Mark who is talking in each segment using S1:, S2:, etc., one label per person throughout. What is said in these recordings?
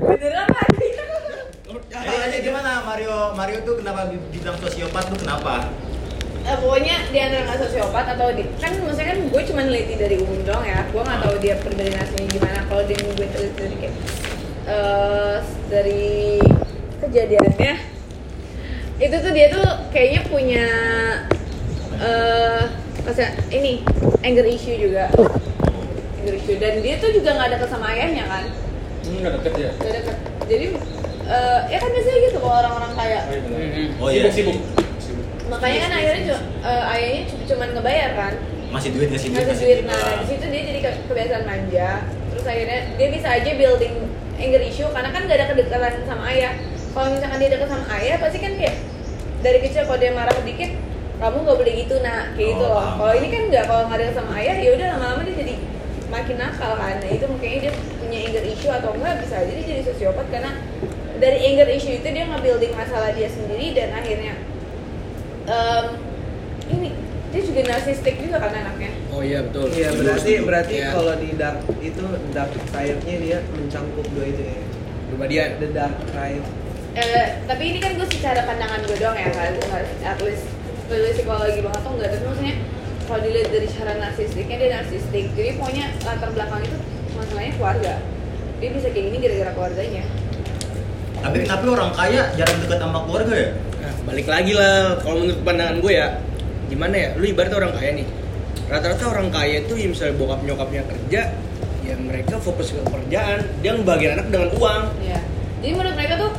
S1: Beneran lagi.
S2: Jadi aja gimana Mario? Mario tuh kenapa dibilang sosiopat tuh kenapa?
S1: Eh, pokoknya di antara nggak sosiopat atau di kan maksudnya kan gue cuma neliti dari umum doang ya gue nggak tahu dia pribadi aslinya gimana kalau dia gue teliti dari kayak eh, dari kejadiannya itu tuh dia tuh kayaknya punya eh maksudnya ini anger issue juga anger issue dan dia tuh juga nggak ada kesama ayahnya kan
S3: Hmm, nggak deket ya?
S1: Nggak deket. jadi eh, ya kan biasanya gitu kalau orang-orang kaya
S2: Oh, iya.
S3: Sibuk, sibuk.
S1: makanya kan akhirnya cu- eh, ayahnya cu- cuman ngebayar kan
S2: Masih duit ngasih duit
S1: ngasih
S2: ngasih
S1: duit
S2: duit.
S1: nah dari situ dia jadi ke- kebiasaan manja terus akhirnya dia bisa aja building anger issue karena kan gak ada kedekatan sama ayah kalau misalkan dia deket sama ayah pasti kan kayak dari kecil kalau dia marah sedikit kamu gak boleh gitu nak kayak gitu
S2: Oh,
S1: loh
S2: paham.
S1: kalau ini kan nggak kalau nggak deket sama ayah ya udah lama-lama dia jadi makin nakal kan nah, itu mungkin dia punya anger issue atau enggak bisa aja dia jadi sosiopat karena dari anger issue itu dia nge-building masalah dia sendiri dan akhirnya em, ini dia juga narsistik juga kan anaknya
S3: Oh iya betul.
S4: Iya berarti berarti
S3: Iya.
S4: kalau di dark itu dark side-nya dia mencangkup dua itu ya.
S3: Perbadian.
S4: The dark side.
S1: Eh, tapi ini kan gue secara pandangan gue doang ya kan gue nggak at least lulus psikologi banget tuh nggak tapi maksudnya kalau dilihat dari cara narsistiknya dia narsistik jadi pokoknya latar belakang itu masalahnya keluarga dia bisa kayak gini gara-gara keluarganya
S2: Tapi tapi orang kaya jarang dekat sama keluarga ya?
S3: Nah, balik lagi lah kalau menurut pandangan gue ya gimana ya lu ibarat orang kaya nih rata-rata orang kaya itu ya misalnya bokap nyokapnya kerja ya mereka fokus ke pekerjaan dia ngebagian anak dengan uang
S1: ya jadi menurut mereka tuh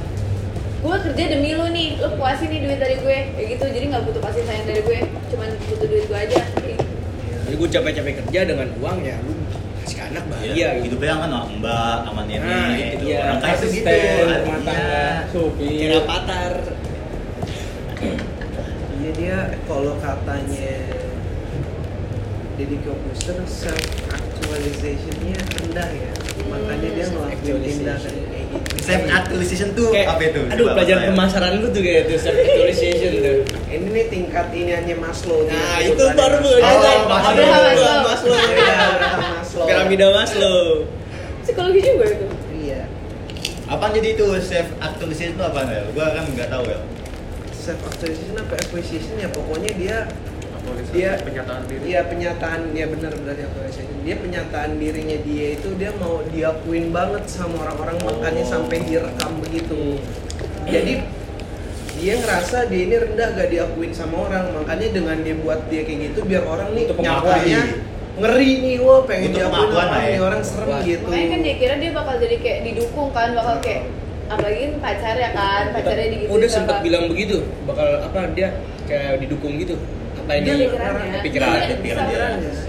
S1: gue kerja demi lu nih lu puasin nih duit dari gue kayak gitu jadi nggak butuh kasih sayang dari gue cuman butuh duit gue aja Kayak gitu.
S3: jadi gue capek-capek kerja dengan uang ya lu kasih ke anak bahagia
S2: Iya,
S3: gitu
S2: hidupnya kan sama mbak, sama nenek
S3: Nah, itu
S2: gitu.
S3: dia.
S2: Orang kaya tuh gitu.
S5: Asisten, rumah tangga,
S2: Iya.
S5: supir.
S3: kira patar
S4: Iya dia kalau katanya Deddy Kobuster self actualization-nya rendah ya. Makanya dia
S3: Hmm,
S4: ngelakuin tindakan kayak gitu.
S2: Self actualization tuh apa itu?
S3: aduh
S2: Coba
S3: pelajaran
S2: bahasa saya.
S3: pemasaran lu tuh kayak tuh self actualization tuh
S4: Ini nih tingkat ini hanya Maslow.
S3: nah
S4: tingkat
S3: itu
S4: kebutuhan
S3: baru
S4: yang
S3: mengenai kan
S2: Maslow.
S3: Maslow
S2: Oh,
S1: Maslow.
S3: Maslow
S4: Maslow. Iya, tingkat Maslow.
S3: piramida Maslow
S1: psikologi juga itu
S4: Iya.
S2: Apaan jadi itu self actualization itu apaan ya? Gua kan nggak tahu ya.
S4: Self actualization apa acquisition ya pokoknya dia dia
S5: penyataan diri.
S4: Iya penyataan dia benar berarti actualization. Dia penyataan dirinya dia itu dia mau diakuin banget sama orang-orang makanya sampai direkam begitu.
S3: Iya,
S4: Jadi dia ngerasa dia ini rendah gak diakuin sama orang makanya dengan dia buat dia kayak gitu biar orang nih
S5: Untuk pengakuan.
S4: nyawanya ngeri nih wah pengen
S2: Untuk
S4: diakuin
S2: pengakuan
S4: orang
S2: lah ya.
S4: nih orang serem
S3: Wah.
S4: gitu.
S1: makanya kan dia kira dia bakal jadi kayak didukung kan bakal kayak apalagi pacar ya kan pacarnya di
S3: udah sempet bilang begitu bakal apa dia kayak didukung gitu apa
S4: Dia
S3: ini
S1: pikirannya
S3: Pikiran,
S1: Iya,
S2: pikiran
S1: bisa.
S2: dia.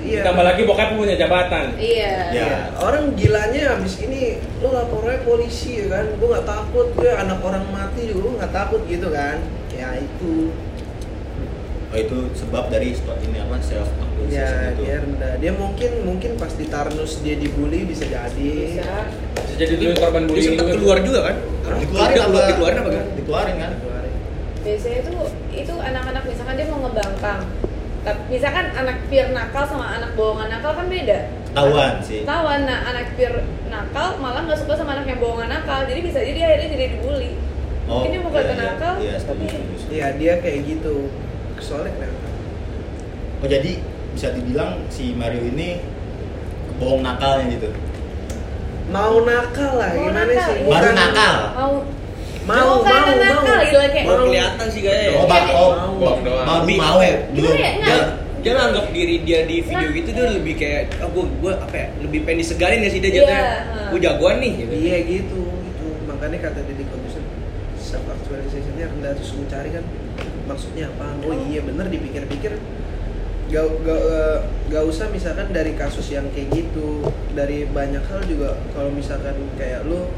S4: Iya.
S5: Tambah lagi bokap punya jabatan.
S1: iya
S2: Ya.
S4: Iya. Orang gilanya habis ini lu lapornya polisi ya kan, gue nggak takut, gue anak orang mati juga gue nggak takut gitu kan. Ya itu,
S2: Oh itu sebab dari spot ini apa self actualization
S4: ya
S2: itu.
S4: dia rendah. Dia mungkin mungkin pas di Tarnus dia dibully bisa jadi.
S1: bisa
S2: Ya.
S5: Bisa jadi dulu
S3: Iya.
S5: korban
S3: dia
S5: bullying
S3: sempat
S5: juga.
S3: keluar juga kan
S2: Dikeluarin
S3: Dia
S2: apa?
S3: keluar- dikeluarin apa
S1: Iya.
S3: kan
S2: Dikeluarin kan?
S1: biasanya tuh itu anak-anak misalkan dia mau ngebangkang tapi misalkan anak pir nakal sama anak bohongan nakal kan beda
S2: Ketahuan sih.
S1: tawan nah anak pir nakal malah nggak suka sama anak yang bohongan nakal jadi bisa jadi dia akhirnya jadi dibully mungkin dia mau
S2: iya,
S1: kelihatan
S2: iya.
S1: nakal
S2: Iya,
S1: tapi
S2: setuju, setuju, setuju.
S4: Iya dia kayak gitu. Soalnya kenapa?
S2: Oh jadi bisa dibilang si Mario ini bohong nakalnya gitu.
S4: Mau nakal lah,
S1: Mau
S4: gimana
S1: nakal,
S4: sih?
S1: iya.
S2: Baru
S4: Bukan-
S2: nakal.
S1: mau Bukan
S4: Mau, mau,
S1: nakal, iya.
S4: mau.
S1: gila, kayak- gitu.
S3: Baru kelihatan sih kayaknya ya.
S2: Oh, bang,
S1: Iya.
S2: oh,
S4: Mau.
S2: bohong doang. Mau mau ya? Belum.
S1: Gimana ya?
S3: dia
S1: Nggak.
S3: dia nganggap diri dia di video gitu dia lebih kayak oh gue gue apa ya lebih pengen disegarin ya sih dia
S1: Iya,
S3: jatuhnya
S1: ha.
S3: gue jagoan nih gitu.
S4: Iya gitu, itu makanya kata Deddy Corbuzier self actualizationnya rendah terus gue cari kan maksudnya apa? Oh iya bener dipikir-pikir gak, gak, eh, gak usah misalkan dari kasus yang kayak gitu dari banyak hal juga kalau misalkan kayak lu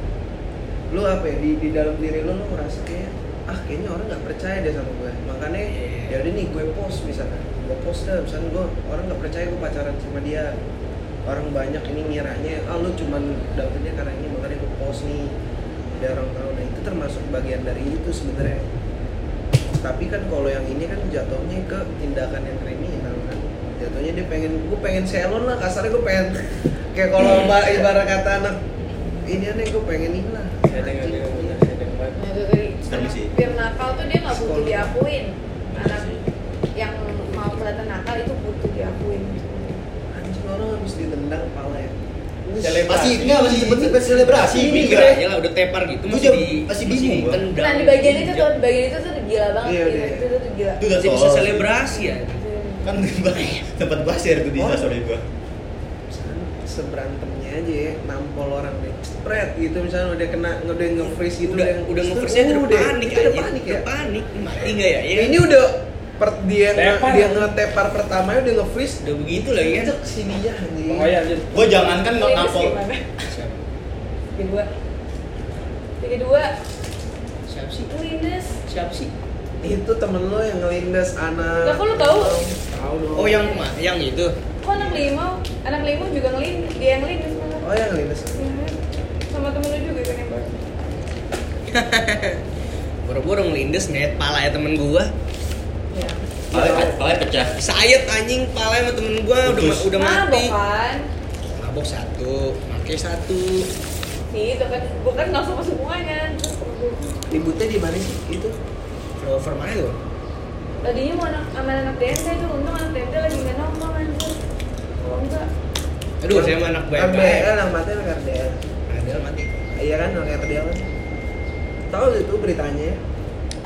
S4: lu apa ya di, di dalam diri lu lu ngerasa kayak ah kayaknya orang nggak percaya deh sama gue makanya ya udah nih gue post misalkan gue post dah misalkan gue orang nggak percaya gue pacaran sama dia orang banyak ini ngiranya ah lu cuman dapetnya karena ini makanya gue post nih biar orang tahu nah itu termasuk bagian dari itu sebenarnya tapi kan kalau yang ini kan jatuhnya ke tindakan yang kriminal kan jatuhnya dia pengen gue pengen selon lah kasarnya gue pengen kayak kalau ibarat kata anak ini aneh gue pengen hilang
S5: Saya dengar
S4: Anjing,
S5: dia benar,
S4: punya.
S5: saya dengar.
S1: Nah, itu tadi.
S2: Sekarang sih. Iya
S1: Biar nakal tuh dia nggak butuh
S4: Sekolah.
S1: diakuin. Anak
S2: sih.
S1: yang mau kelihatan nakal itu butuh diakuin.
S4: anjing orang habis ditendang kepala ya
S5: Selebrasi.
S2: Masih enggak masih penting selebrasi ini
S3: mikir
S2: enggak.
S3: aja lah udah tepar gitu
S2: Gua
S3: masih
S2: jam-
S3: di
S2: masih bingung gua.
S3: ditendang.
S1: Nah di bagian itu tuh, di bagian itu tuh gila banget.
S4: Iya,
S1: gila.
S4: iya.
S1: Itu tuh gila. Hmm.
S2: Itu udah
S3: masih bisa
S2: soal.
S3: selebrasi ya
S2: Kan tempat basir tuh di
S4: Oh.
S2: sasori gua.
S4: Misalnya seberantemnya aja ya nampol orang deh spread gitu misalnya udah kena udah nge-freeze gitu
S3: udah
S4: yang-
S3: udah nge-freeze nya udah panik
S4: itu
S3: aja
S4: udah panik ya
S3: udah panik mati nggak ya ya
S4: ini udah per, dia nge-
S5: Tepar.
S4: dia ngetepar pertamanya udah nge-freeze
S3: udah begitu lagi kan
S4: Cek sini ya anjing.
S5: Oh iya, lanjut.
S2: Gua jangan kan
S1: Yang
S2: nampol.
S1: gimana? Yang kedua. Yang kedua,
S3: siap sih
S1: Linus.
S3: siap sih
S4: Itu temen lo yang ngelindas anak.
S1: Lah, kok lo tahu?
S4: Tahu dong.
S3: oh yang ma- yang itu
S1: Kok anak limau? Anak limau juga ngelin, dia yang linus malah.
S4: Oh yang ngelindas.
S1: Mhm. Sama temen lu juga kan yang baru.
S3: boro-boro ngelindes ngeliat pala ya temen gua
S1: Ya.
S2: Palanya palanya pecah.
S3: sayet anjing pala sama temen gua udah ma-
S2: Putus.
S3: udah mati
S1: Mabok kan?
S3: mabok satu pakai satu
S1: Nih, itu kan gua kan nggak sama semuanya.
S4: Ributnya di mana sih? Itu
S3: Flower mana itu?
S1: Tadinya mau anak sama anak DMT itu untung anak DMT lagi nggak nongkrong anjir. Kalau enggak,
S3: Aduh, saya mah anak baik
S4: RDL
S3: baik.
S4: yang mati kan, anak RDL.
S3: Ada mati.
S4: Iya kan anak RDL kan. Tahu itu beritanya ya?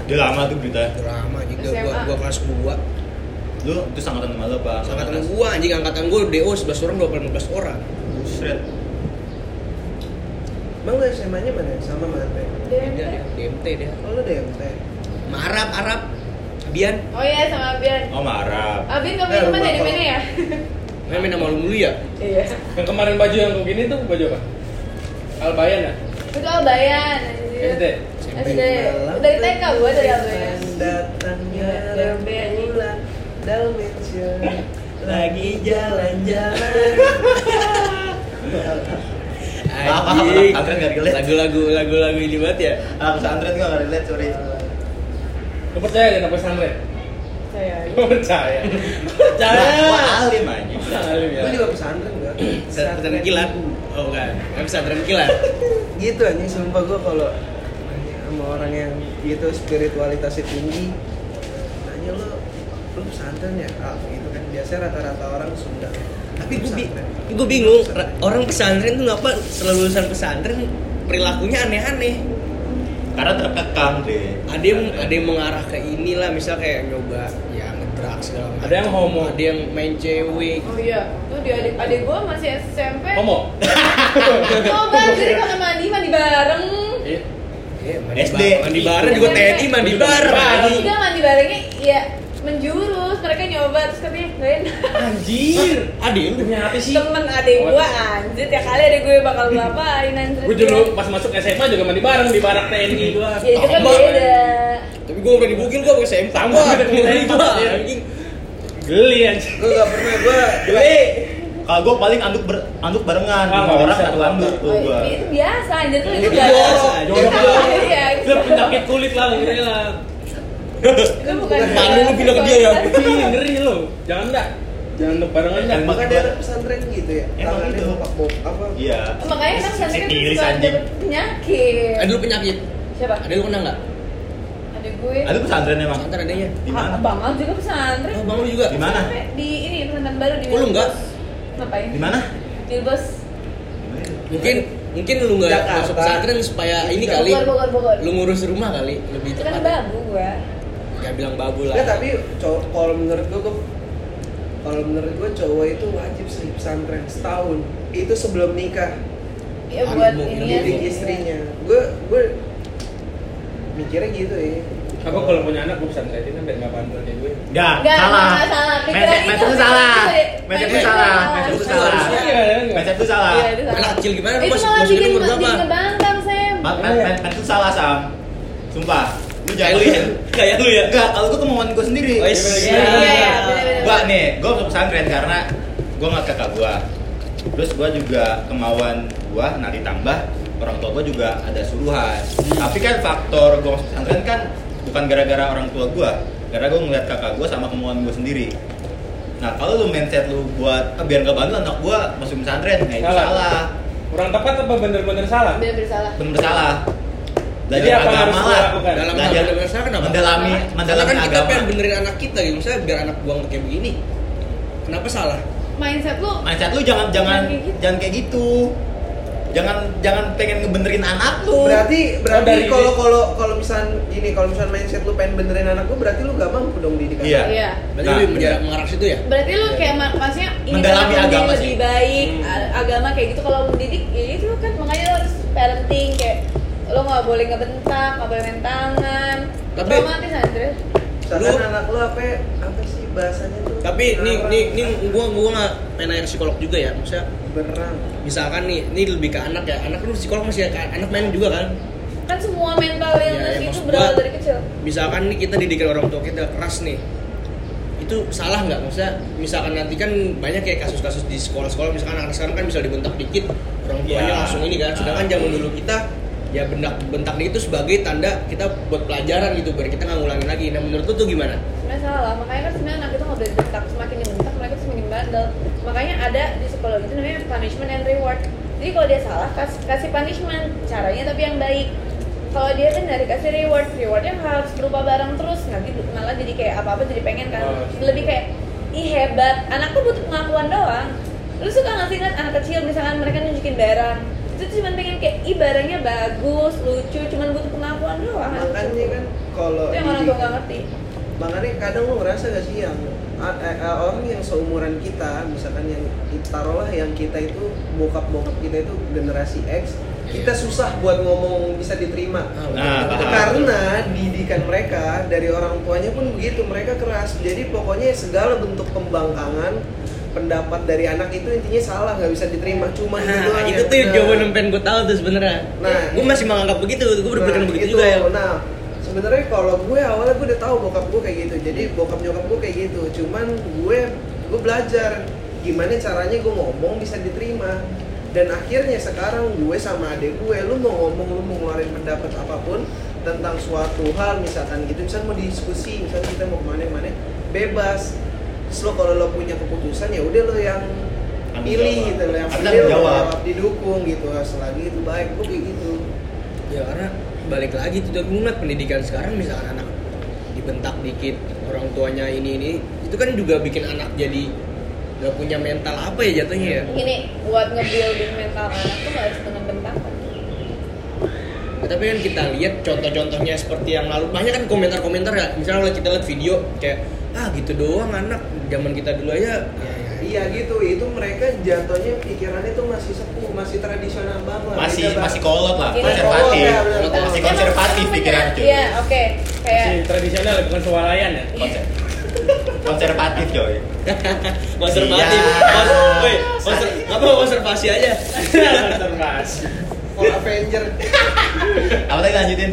S2: Udah lama tuh berita.
S3: Udah Lama juga gua
S1: SMA.
S3: gua kelas gua.
S2: Lu itu sangkatan sama lo, Pak.
S3: Sama temen gua anjing angkatan gua DO 11 orang 12 15 orang.
S2: Buset.
S4: Bang lu SMA-nya mana? Sama Mate.
S1: DMT.
S3: Beda deh, DMT deh.
S4: Oh lu DMT.
S3: Sama Arab, Arab. Bian,
S1: Oh iya sama Abian.
S2: Oh, marah.
S1: Abian kamu
S4: Eh,
S1: teman
S4: lupa
S1: dari
S4: kalau-
S1: mana ya?
S3: main main sama lu dulu ya?
S1: Iya.
S5: Yang kemarin baju yang kayak gini tuh baju apa? Albayan ya?
S1: Itu Albayan. anjir.
S5: SD?
S1: SD. Dari TK gua dari Iya, Albayan.
S4: Datangnya
S1: Dari
S4: rembulan Dalmeja lagi jalan-jalan.
S2: Apa, apa,
S3: Anjing.
S2: apa, apa, nggak relate.
S3: Lagu-lagu lagu-lagu ini banget ya.
S2: Ah, pesantren gua enggak relate, sorry.
S3: Iya.
S5: Lu percaya gak sama pesantren?
S1: Saya.
S5: Lu percaya?
S2: Lah, Gua
S5: Percaya!
S2: alim aja.
S5: Salim ya.
S4: Lu juga pesantren enggak?
S3: Pesantren kilat. Oh bukan. Enggak pesantren kilat.
S4: gitu anjing sumpah gue kalau nanya sama orang yang gitu spiritualitasnya tinggi nanya lo lu pesantren ya ah gitu kan biasanya rata-rata orang Sunda
S3: Tapi gua, bi-
S4: Pesantren.
S3: gua bingung ra- orang pesantren tuh ngapa selalu lulusan pesantren perilakunya aneh-aneh.
S2: Karena terkekang deh.
S3: ada yang ada yang mengarah ke inilah misal kayak nyoba ya ngedrak segala macam
S5: Ada yang homo.
S3: ada yang main cewek
S1: Oh iya, tuh di adik adik gua masih SMP.
S3: Oh,
S5: Homo?
S1: Coba Oh, jadi kalau mandi mandi bareng.
S5: Iya.
S3: Iya, mandi
S2: SD.
S3: bareng. mandi bareng juga TNI mandi bareng anjing.
S1: Enggak mandi barengnya ya menjurus, mereka nyoba terus katanya enggak enak.
S5: Anjir!
S3: ada yang
S5: Demi apa sih?
S1: Temen adik
S3: Oh,
S1: gua anjir, tiap kali adik gue bakal ngapain anjir.
S5: Gue dulu pas masuk SMA juga mandi bareng di barak TNI gua.
S1: Ya itu kan
S3: Tambah.
S1: beda.
S3: tapi gue udah dibugil gue pakai sempak
S5: Tambah,
S3: gue
S5: dengan TNI gua. Geli anjir.
S4: gue gak pernah gue
S5: Iya.
S2: Kalau gua paling anduk ber, anduk barengan, lima
S5: Ah, nggak
S2: orang
S5: bisa.
S2: satu anduk tuh
S1: Oh,
S2: gua.
S1: itu biasa anjir tuh itu
S3: Itu
S1: biasa.
S3: jorok, jorok.
S1: Iya,
S5: Lu penyakit kulit lah, ngeri lah.
S1: Itu bukan. Iya, gitu.
S3: Malu lu pindah ke dia ya.
S5: Ih, Ngeri lu. Jangan dah. Jangan lu barengan dah.
S2: Emang
S4: maka daerah pesantren gitu ya
S2: Emang
S4: tangannya
S2: gitu.
S4: bopak bok apa
S2: Iya.
S1: Makanya kan
S2: Saya
S1: pesantren kan
S2: iris,
S1: suka
S2: anjing.
S1: dapet penyakit.
S3: ada lu penyakit
S1: Siapa?
S3: ada lu kena nggak
S1: Adik gue.
S2: Ada pesantren emang.
S3: pesantren adanya
S2: Di
S1: Ah,
S2: mana?
S1: Bang Al juga pesantren.
S3: oh bang lu juga
S2: Di mana?
S1: Sampai Di ini pesantren baru di.
S3: Kok lu
S1: Milbos.
S3: enggak?
S1: Ngapain?
S2: Di mana?
S1: Milbos.
S3: mungkin mungkin lu nggak
S4: Jakarta.
S3: masuk pesantren supaya ini kali
S1: Bogor, Bogor, Bogor.
S3: lu ya? ngurus rumah kali lebih
S1: Itu kan
S3: tepat
S1: babu gua.
S3: nggak bilang babu lah
S4: Nggak, Ya, tapi cowok kalau menurut gue kalau menurut gue cowok itu wajib sih pesantren setahun itu sebelum nikah
S1: Ya buat
S3: Ilmu,
S1: ini ya.
S3: ilmu
S4: didik istrinya gue gue mikirnya gitu ya
S5: Apa kalau punya anak gue pesantrenin kan biar nggak bandel kayak gue.
S2: Enggak,
S1: Enggak,
S2: salah.
S1: enggak salah. Pikiran
S2: Mindset-
S1: itu-
S2: mindset lu salah. Mindset
S1: mindset
S2: lu
S1: lu
S2: salah.
S1: salah.
S2: Mindset lu
S1: Itu
S2: salah.
S5: harusnya, ya, ya, nggak?
S2: Mindset lu salah.
S1: Iya, itu salah.
S3: Ah, anak kecil gimana
S1: Itu
S3: Mas-
S1: malah
S3: masukin
S1: bikin
S3: umur
S1: bikin
S3: berapa
S1: ngebangkang, Sam.
S2: Ma- ma- ma- Mindset lu salah, Sam. Sumpah. Lu
S3: kayak
S2: jangan
S3: lu ya kayak lu ya
S2: Enggak, kalau gua kemauan gua sendiri.
S3: Oh, is-
S5: Iya,
S1: Iya, iya, iya. bener-bener.
S2: Gua nih, gua masuk pesantren karena gua nggak kakak gua. Terus gua juga kemauan gua nah ditambah orang tua gua juga ada suruhan. Tapi kan faktor gua masuk pesantren kan bukan gara-gara orang tua gua, karena gua ngeliat kakak gua sama kemauan gua sendiri. "Eh, Nah, kalau lu mindset lu buat "Ah, biar gak bandel anak gua masuk pesantren, nah itu
S5: Salah.
S2: salah.
S5: kurang tepat apa bener-bener salah
S1: bener bersalah
S2: benar salah
S5: Jadi
S2: belajar
S5: apa yang
S2: agama
S5: harus
S2: lah
S5: dilakukan?
S3: dalam
S2: Belajar-
S3: hal besar kenapa?
S2: mendalami
S3: Karena
S2: mendalami
S3: kan kita
S2: agama
S3: pengen benerin anak kita gitu, misalnya biar anak gua nggak kayak begini. Kenapa salah?
S1: mindset lu
S2: mindset lu jangan jangan
S1: Jangan kayak gitu.
S2: jangan kayak gitu jangan jangan pengen ngebenerin anak lu
S4: berarti berarti
S5: dari-
S4: kalau kalau kalau misalnya gini kalau misalnya mindset lu pengen benerin anak gua berarti lu gak mampu dong didik anak.
S2: Iya.
S1: iya
S3: Berarti
S2: Nah,
S3: lu menjarak
S2: bener.
S3: mengarah situ ya?
S1: berarti lu kayak ma- maksudnya ini
S2: Mendalami
S1: kenapa
S2: agama
S1: menjadi
S2: sih.
S1: lebih baik
S5: Hmm.
S1: a- agama kayak gitu kalau mendidik ya itu kan makanya lo harus parenting kayak lo nggak boleh ngebentak nggak boleh main tangan
S3: Tapi-
S1: traumatis Andre
S4: misalkan
S3: Lu-
S4: anak lu apa ya, apa sih bahasanya tuh
S3: Tapi nih
S4: Berang.
S3: nih nih gua gua nggak main air psikolog juga ya, maksudnya
S4: berang
S3: misalkan nih ini lebih ke anak ya, anak lu psikolog masih ya, anak main juga kan?
S1: kan semua mental
S3: Iya,
S1: yang ngasih
S3: iya,
S1: itu
S3: maksud
S1: berawal
S3: gua-
S1: dari kecil
S3: Misalkan nih kita didikan orang tua kita keras nih, itu salah nggak maksudnya misalkan nanti kan banyak kayak kasus-kasus di sekolah-sekolah misalkan anak sekarang kan bisa dibentak dikit orang tuanya
S2: Iya.
S3: langsung ini kan sedangkan
S2: Ah.
S3: zaman dulu kita ya bentak bentak itu sebagai tanda kita buat pelajaran gitu biar kita nggak ngulangin lagi nah menurut lu tuh gimana
S1: sebenarnya salah makanya kan sebenarnya anak itu nggak boleh dibentak semakin dibentak mereka tuh semakin bandel makanya ada di psikologi itu namanya punishment and reward jadi kalau dia salah kasih, kasih punishment caranya tapi yang baik kalau dia kan dari kasih reward rewardnya harus berupa barang terus nanti malah jadi kayak apa apa jadi pengen kan
S5: Oh.
S1: lebih kayak ih hebat anak tuh butuh pengakuan doang lu suka nggak sih ngeliat anak kecil misalkan mereka nunjukin barang itu tuh cuman pengen kayak ih barangnya bagus lucu cuman butuh pengakuan doang anak
S4: makanya
S1: kecil.
S4: kan kalau
S1: itu Ah, yang orang tua
S4: didik-
S1: nggak ngerti
S4: makanya kadang lu ngerasa gak sih yang a- a- a- orang yang seumuran kita misalkan yang taruhlah yang kita itu bokap bokap kita itu generasi X kita
S3: Iya.
S4: susah buat ngomong bisa diterima
S2: nah paham
S4: karena didikan mereka dari orang tuanya pun begitu mereka keras jadi pokoknya segala bentuk pembangkangan pendapat dari anak itu intinya salah nggak bisa diterima cuma gitu
S3: nah
S4: doang
S3: itu
S4: yang
S3: tuh
S4: benar.
S3: jawaban yang pengen gue tahu tuh sebenarnya
S4: Nah.
S3: gue masih menganggap begitu gue berpikiran
S4: Nah,
S3: begitu
S4: gitu.
S3: juga ya
S4: Nah, sebenarnya kalau gue awalnya gue udah tahu bokap gue kayak gitu. Jadi bokap nyokap gue kayak gitu. Cuman gue gue belajar gimana caranya gue ngomong bisa diterima. Dan akhirnya sekarang gue sama adik gue, lu mau ngomong, lu mau ngeluarin pendapat apapun tentang suatu hal, misalkan gitu, misalkan mau diskusi, misalkan kita mau kemana-mana, bebas. Terus lo kalau lo punya keputusan ya udah lo yang
S2: Tanggung jawab.
S4: pilih gitu, lo yang
S2: Tapi
S4: pilih, lo
S2: tanggung jawab.
S4: jawab, didukung gitu, selagi itu baik, gue kayak gitu.
S3: ya karena balik lagi tuh gue ngeliat pendidikan sekarang misalkan anak dibentak dikit orang tuanya ini ini itu kan juga bikin anak jadi nggak punya mental apa ya jatuhnya ya
S1: Ini buat nge-building mental anak tuh gak harus dengan bentakan.
S3: Nah, tapi kan kita lihat contoh-contohnya seperti yang lalu banyak kan komentar-komentar ya misalnya kalau kita lihat video kayak ah gitu doang anak zaman kita dulu aja ya, ya,
S4: Iya gitu, itu mereka jatuhnya pikirannya tuh masih sepuh, masih tradisional banget.
S2: masih
S4: Beda
S2: masih kolot lah
S1: Gini.
S2: konservatif
S4: Iya. Kolot, ya, bener.
S2: masih
S1: Emang-
S2: konservatif
S1: emang
S2: pikiran
S1: bener.
S2: cuy
S1: Iya, oke. Kayak iya.
S5: Masih tradisional bukan swalayan ya
S2: Konser- konservatif coy
S3: Nah, konservatif
S2: Iya.
S3: Kons- woi, konser- apa konservasi aja
S5: konservasi
S4: Kalau Avenger. Nah,
S2: apa tadi lanjutin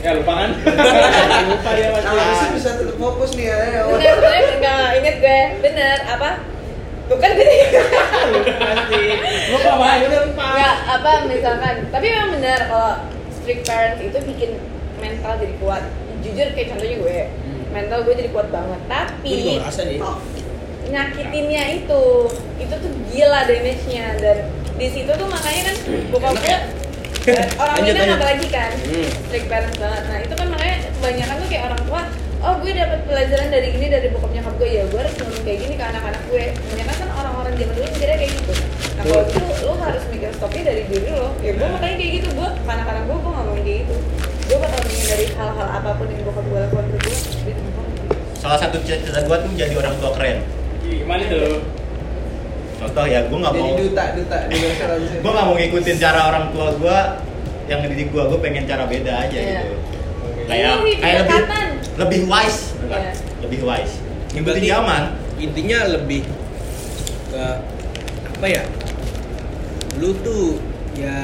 S5: ya lupa kan lupa dia
S2: Iya.
S4: Nah,
S5: masih
S4: harusnya bisa tetap fokus nih ya. ya.
S1: Bener, sebenernya enggak inget gue. Bener, apa? kan Bukan gini.
S5: lupa banget
S1: Enggak, apa misalkan. Tapi memang bener kalau strict parents itu bikin mental jadi kuat. Jujur kayak contohnya gue. Mental gue jadi kuat banget. Tapi
S3: gue juga ngerasa nih
S4: Iya.
S1: nyakitinnya itu itu tuh gila damage-nya dan di situ tuh makanya kan bokap gue eh, orang
S3: Lanjut,
S1: ini kan
S3: lanjut.
S1: apalagi kan
S3: Hmm.
S1: strict parents banget nah itu kan makanya kebanyakan tuh kayak orang tua oh gue dapat pelajaran dari gini dari bokap nyokap gue ya gue harus ngomong kayak gini ke anak-anak gue kebanyakan kan orang-orang zaman dulu mikirnya kayak gitu nah kalau
S2: Iya.
S1: itu lo harus mikir stopnya dari diri lo ya gue makanya kayak gitu gue ke anak-anak gue gue ngomong kayak gitu gue bakal menghindari hal-hal apapun yang bokap gue lakukan ke gue gitu
S2: salah satu cita-cita gua tuh jadi orang tua keren
S5: gimana tuh
S2: contoh ya gua nggak
S4: Jadi
S2: mau
S4: duta, duta di bahasa Indonesia.
S2: gue nggak mau ngikutin cara orang tua gue yang ngedidik gue gue pengen cara beda aja
S1: Iya.
S2: gitu kayak
S1: Ini
S2: kayak lebih
S1: pendekatan.
S2: lebih wise bukan?
S1: Iya.
S2: lebih wise ngikutin
S3: Berarti-
S2: zaman
S3: intinya lebih ke apa ya lu tuh ya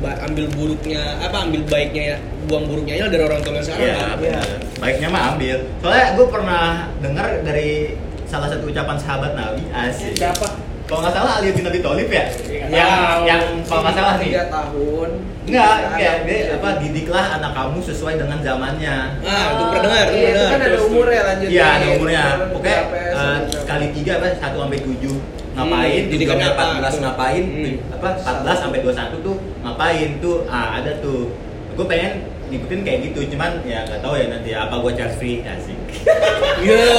S3: ba- ambil buruknya apa ambil baiknya ya buang buruknya aja dari orang tua yang sekarang
S2: ya
S3: kan?
S2: benar baiknya mah ambil soalnya gue pernah dengar dari salah satu ucapan sahabat Nabi asik
S5: siapa
S2: kalau nggak salah Ali bin Abi Thalib ya
S5: Iya, nggak
S2: yang
S5: tahu.
S2: yang kalau nggak salah nih
S4: Tiga tahun. ya.
S2: Enggak,
S4: Tiga
S2: kayak
S4: tahun.
S2: dia apa didiklah anak kamu sesuai dengan zamannya.
S3: ah itu pernah dengar
S4: Iya, itu kan ada
S5: Terus,
S4: umurnya lanjut.
S2: Iya,
S4: nih.
S2: ada umurnya.
S4: Umur
S2: Pokoknya
S4: berapa ya,
S2: eh,
S4: sampai berapa.
S2: kali tiga apa satu sampai tujuh. ngapain
S3: Hmm,
S2: jadi
S3: didikan apa?
S2: 14 ngapain
S3: Hmm.
S2: tuj- apa 14 sampai 21 tuh ngapain tuh ah ada tuh gue pengen ngikutin kayak gitu cuman ya nggak tahu ya nanti apa gue charge free asik
S3: Iya.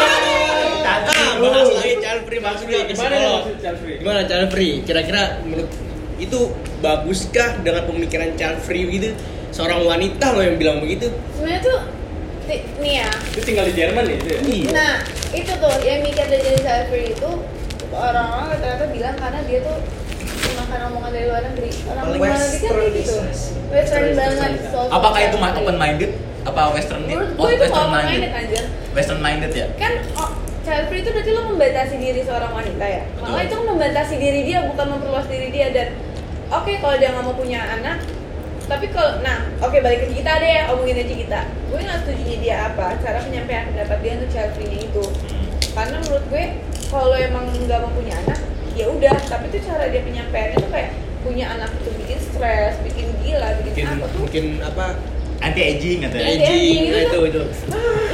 S3: Ah, bahas
S2: Tahu.
S3: lagi Charles Free maksud lu ke
S5: Iya, Gimana
S3: psikolog.
S5: maksud Charles Free?
S3: Gimana Charles Free? Kira-kira menurut itu baguskah dengan pemikiran Charles Free gitu? Seorang wanita loh yang bilang begitu.
S1: sebenarnya tuh ti- nih ya
S5: Itu tinggal di Jerman ya itu ya?
S1: Nah, itu tuh yang mikir dari jadi selfie itu orang-orang ternyata bilang karena dia tuh makan omongan dari luar negeri. Orang
S4: Paling
S1: luar negeri kan kayak gitu.
S4: westernisasi.
S1: Western banget.
S5: Westernisasi.
S1: so-
S2: apakah itu ma-
S1: selfie.
S2: open minded apa western
S1: Menurut gue
S2: oh,
S1: itu kan?
S2: western
S1: open minded
S2: minded
S1: anjir.
S2: western minded ya
S1: Kan oh, selfie itu berarti lo membatasi diri seorang wanita ya. Maka
S2: Betul.
S1: itu kan membatasi diri dia bukan memperluas diri dia dan oke kalau dia nggak mau punya anak tapi kalau nah oke balik ke kita deh omongin aja kita gue nggak setuju dia apa cara penyampaian pendapat dia untuk child free-nya itu
S2: Hmm.
S1: karena menurut gue kalau emang nggak mau punya anak ya udah tapi tuh cara dia penyampaiannya tuh kayak punya anak itu bikin stres bikin gila bikin,
S3: Mungkin
S1: apa tuh
S3: mungkin apa?
S2: anti aging katanya
S1: Iya.
S3: Aging
S1: iya,
S3: nah,
S1: gitu.
S3: itu itu.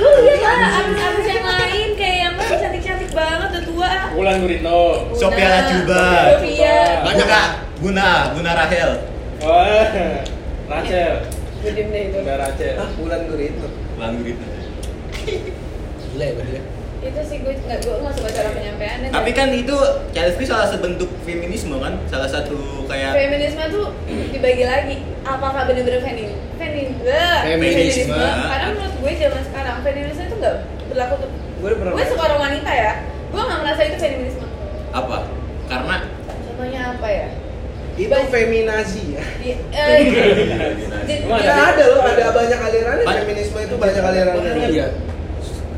S1: lu lihat lah artis-artis yang lain kayak yang masih cantik-cantik banget udah tua Nah,
S5: Bulan Gurito.
S2: Sophia Lajuba.
S1: Sophia
S3: Banyak
S2: Guna,
S3: ah.
S2: Guna, Guna Rahel.
S5: Wah. Rachel.
S1: gue diem deh itu
S5: Udah Rachel.
S4: ah bulan gurito
S2: Lalu gitu.
S3: Gila ya berarti ya.
S1: itu sih gue nggak gue nggak suka cara penyampaiannya
S2: Tapi
S1: Dan
S2: kan itu CLSP salah satu bentuk feminisme kan, salah satu kayak
S1: feminisme tuh dibagi lagi apakah bener-bener feminim feminim Bleh.
S3: Feminisme.
S1: karena menurut gue zaman sekarang feminisme tuh nggak berlaku tuh
S4: gue udah pernah
S1: gue seorang wanita ya gue nggak merasa itu feminisme
S2: apa? Karena
S1: contohnya apa ya
S4: itu feminazi ya
S2: Oh,
S1: Di- eh, ju-
S5: Emang
S4: Nggak
S1: ju-
S4: ada loh, ada banyak alirannya
S2: iya. Ba-
S4: feminisme itu banyak alirannya.
S3: Iya.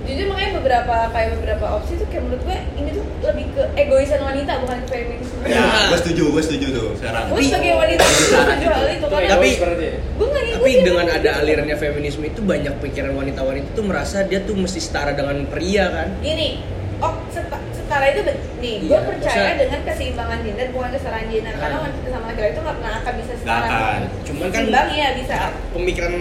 S1: jujur makanya beberapa kayak beberapa opsi tuh kayak menurut gue ini tuh lebih ke egoisan wanita bukan ke feminisme
S2: ya, gue setuju, gue setuju tuh sekarang.
S1: gue sebagai wanita gue setuju hal itu
S5: Itu
S1: karena
S5: egois
S3: Tapi-
S5: berarti ya?
S1: gue nggak
S3: Tapi
S1: ngikutin
S3: dengan ada alirannya feminisme itu banyak pikiran wanita-wanita tuh merasa dia tuh mesti setara dengan pria kan?
S1: ini oh seta- setara itu bet- nih gue
S3: Iya,
S1: percaya
S3: maksudnya-
S1: dengan keseimbangan gender bukan kesetaraan gender karena
S3: Ah.
S1: wanita sama laki-laki itu nggak pernah akan bisa
S2: Gak
S1: setara
S2: akan.
S3: Cuman kan
S1: seimbang iya bisa
S3: pemikiran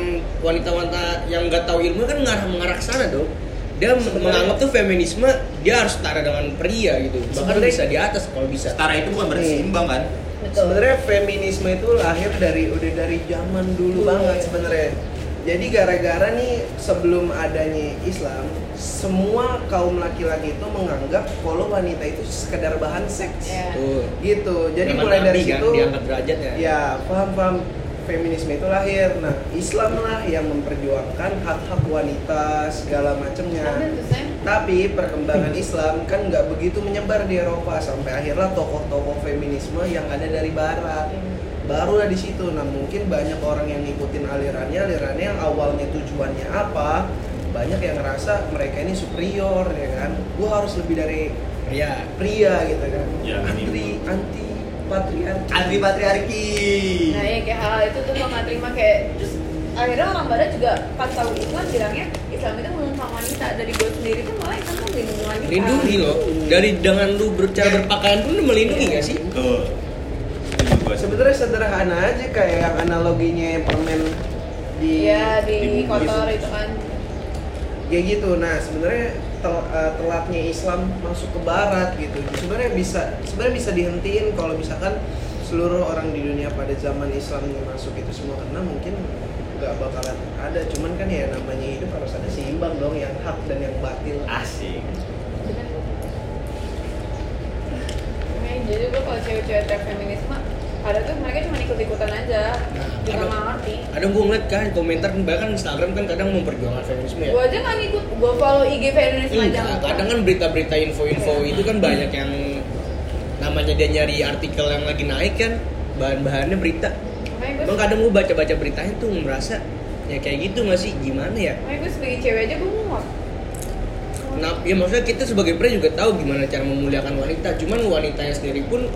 S3: wanita-wanita yang nggak tahu ilmu kan ngarah mengarah ke sana dong dia menganggap tuh feminisme dia harus setara dengan pria gitu bahkan
S4: Sebenarnya-
S3: bisa di atas kalau bisa
S2: Setara itu bukan berarti seimbang kan?
S1: betul
S4: Sebenarnya feminisme itu lahir dari udah dari zaman dulu
S1: Dulu,
S4: banget
S1: iya.
S4: sebenarnya. Jadi gara-gara nih sebelum adanya Islam, semua kaum laki-laki itu menganggap kalau wanita itu sekedar bahan seks.
S1: Iya.
S3: tuh
S4: Gitu. Jadi
S3: Zaman
S4: mulai dari
S3: Nabi kan,
S4: situ
S3: diangkat derajatnya
S4: ya paham-paham feminisme itu lahir. Nah, Islam lah yang memperjuangkan hak-hak wanita segala macamnya.
S1: Ambil tuh, Sam.
S4: Tapi perkembangan Islam kan nggak begitu menyebar di Eropa sampai akhirnya tokoh-tokoh feminisme yang ada dari Barat barulah di situ. Nah mungkin banyak orang yang ngikutin alirannya, alirannya yang awalnya tujuannya apa, banyak yang ngerasa mereka ini superior ya kan, gua harus lebih dari
S3: pria
S2: Iya.
S4: pria gitu kan,
S2: Ya,
S4: anti anti patriarki.
S2: Anti patriarki.
S1: Nah ya kayak hal-hal itu tuh gue gak terima kayak terus akhirnya orang barat juga pas tahu Islam bilangnya Islam itu melindungi wanita dari gue sendiri pun malah Islam tuh melindungi wanita.
S3: melindungi loh dari dengan lu bercara berpakaian pun lu melindungi gak sih
S2: Tuh. Setuju gua.
S4: Iya, Sebenarnya sederhana aja kayak yang analoginya permen di
S1: Iya di
S2: Di-
S1: kotor itu kan.
S4: kayak gitu nah sebenarnya tel- eh, telatnya Islam masuk ke Barat gitu sebenarnya bisa sebenarnya bisa dihentiin kalau misalkan seluruh orang di dunia pada zaman Islam yang masuk itu semua karena mungkin nggak bakalan ada cuman kan ya namanya hidup harus ada seimbang dong yang hak dan yang batil
S2: Iya, Asik.
S1: Bener. Makanya jadi gue kalau cewek-cewek trap feminisme ada tuh mereka cuma ikut-ikutan aja juga
S3: kadang-
S1: nggak ngerti.
S3: kadang gua ngeliat kan komentar bahkan Instagram kan kadang memperjuangkan feminisme ya
S1: Gue aja nggak ngikut, gue follow IG feminisme aja.
S3: Enggak, kadang kan berita-berita info-info itu kan banyak yang namanya dia nyari artikel yang lagi naik kan bahan-bahannya berita
S1: Makanya gue
S3: Bang kadang gue baca-baca beritanya tuh merasa ya kayak gitu nggak sih gimana ya?
S1: makanya gue sebagai cewek aja gue muak.
S3: Nah, ya maksudnya kita sebagai pria juga tahu gimana cara memuliakan wanita. Cuman wanitanya sendiri pun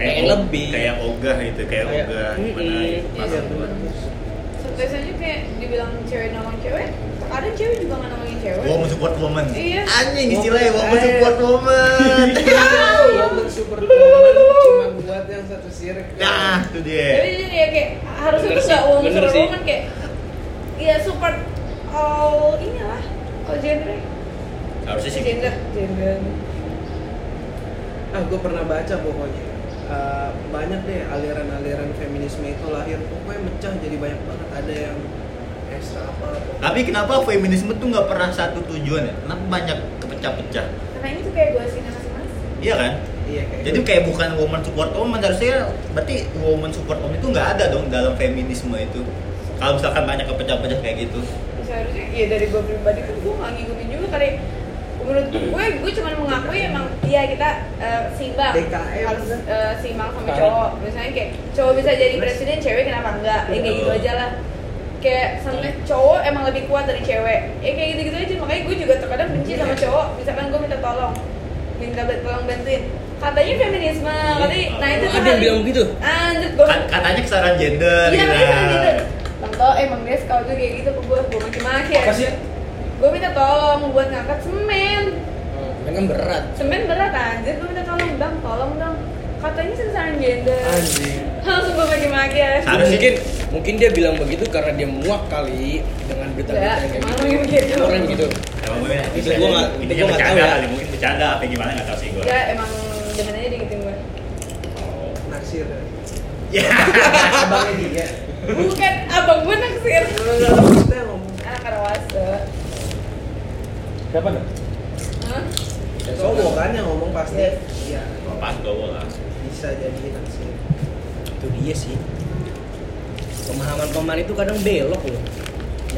S3: pengen lebih.
S2: Kayak ogah itu, kayak
S3: Kayak-
S2: ogah. Gimana gitu.
S3: Mm-mm.
S2: itu
S1: Iya,
S2: pasang gua.
S1: bener. Sometimes aja kayak dibilang cewek nolong cewek, kadang cewek juga nggak nolongin cewek.
S2: Woman support woman.
S1: Iya.
S2: Anjing istilahnya woman support woman.
S3: Iya,
S4: Woman super woman cuma buat yang satu sirik
S2: Nah, itu
S1: Tapi
S2: dia.
S1: jadi ya kayak harusnya
S3: Bener
S1: tuh nggak
S3: sih,
S1: woman
S3: bener
S1: super
S3: sih.
S1: woman kayak ya super all inilah all gender
S2: Harusnya sih.
S1: gender gender
S4: ah gue pernah baca pokoknya Eh, banyak deh aliran-aliran feminisme itu lahir pokoknya mecah jadi banyak banget ada yang ekstra apa pokoknya.
S2: Tapi kenapa feminisme tuh nggak pernah satu tujuan ya? Kenapa banyak kepecah-pecah?
S1: Karena ini tuh kayak gue sih mas-mas.
S2: Iya kan?
S4: iya kayak
S2: Jadi
S4: gitu.
S2: kayak bukan woman support woman harusnya berarti woman support woman itu nggak ada dong dalam feminisme itu. Kalau misalkan banyak kepecah-pecah kayak gitu.
S1: seharusnya ya dari gue pribadi kan gue nggak ngikutin juga kali menurut
S3: Hmm.
S1: gue gue cuma mengakui emang iya kita eh, seimbang
S4: DKM.
S1: harus eh, seimbang sama
S3: Kan.
S5: Sekarang.
S1: cowok misalnya kayak cowok bisa jadi presiden cewek kenapa enggak ya kayak gitu aja lah kayak sampai cowok emang lebih kuat dari cewek ya kayak gitu gitu aja makanya gue juga terkadang benci
S3: Iya.
S1: sama cowok misalkan gue minta tolong minta ba- tolong bantuin katanya feminisme katanya nah itu Ah,
S3: Ada yang bilang begitu? Kan?
S1: anjir gue
S2: Ka- katanya kesetaraan gender
S1: iya
S2: gitu.
S1: katanya gitu Tentu emang dia kalau tuh kayak gitu ke gue gue maki-maki
S5: Apa sih?
S1: gue minta tolong buat ngangkat semen
S3: Kan kan berat.
S1: semen berat anjir gue minta tolong bang tolong dong katanya sengsara gender
S4: anjing
S1: langsung gue maki-maki ya
S2: Sa- Harusnya-
S3: mungkin mungkin dia bilang begitu karena dia muak kali dengan berita-berita
S1: Enggak,
S3: kayak
S1: emang yang gitu.
S3: gitu. Orang begitu.
S2: Emang gue
S3: Itu gua nggak- itu
S2: intinya
S3: gua nggak
S2: bercanda
S3: tahu ya.
S2: kali mungkin bercanda apa gimana nggak tahu sih gue.
S1: ya emang jamannya dikitin gue
S2: Oh.
S4: naksir
S2: Ya.
S4: abangnya dia
S1: bukan abang gue naksir
S4: enggak lah maksudnya ngomong
S1: anak karawase
S5: Siapa nih?
S1: Hah?
S4: cowok kan yang ngomong pasti
S2: Iya.
S1: Yes.
S4: ya
S2: Pas gue lah.
S4: bisa jadi naksir
S3: Itu dia sih. Pemahaman pemahaman itu kadang belok loh.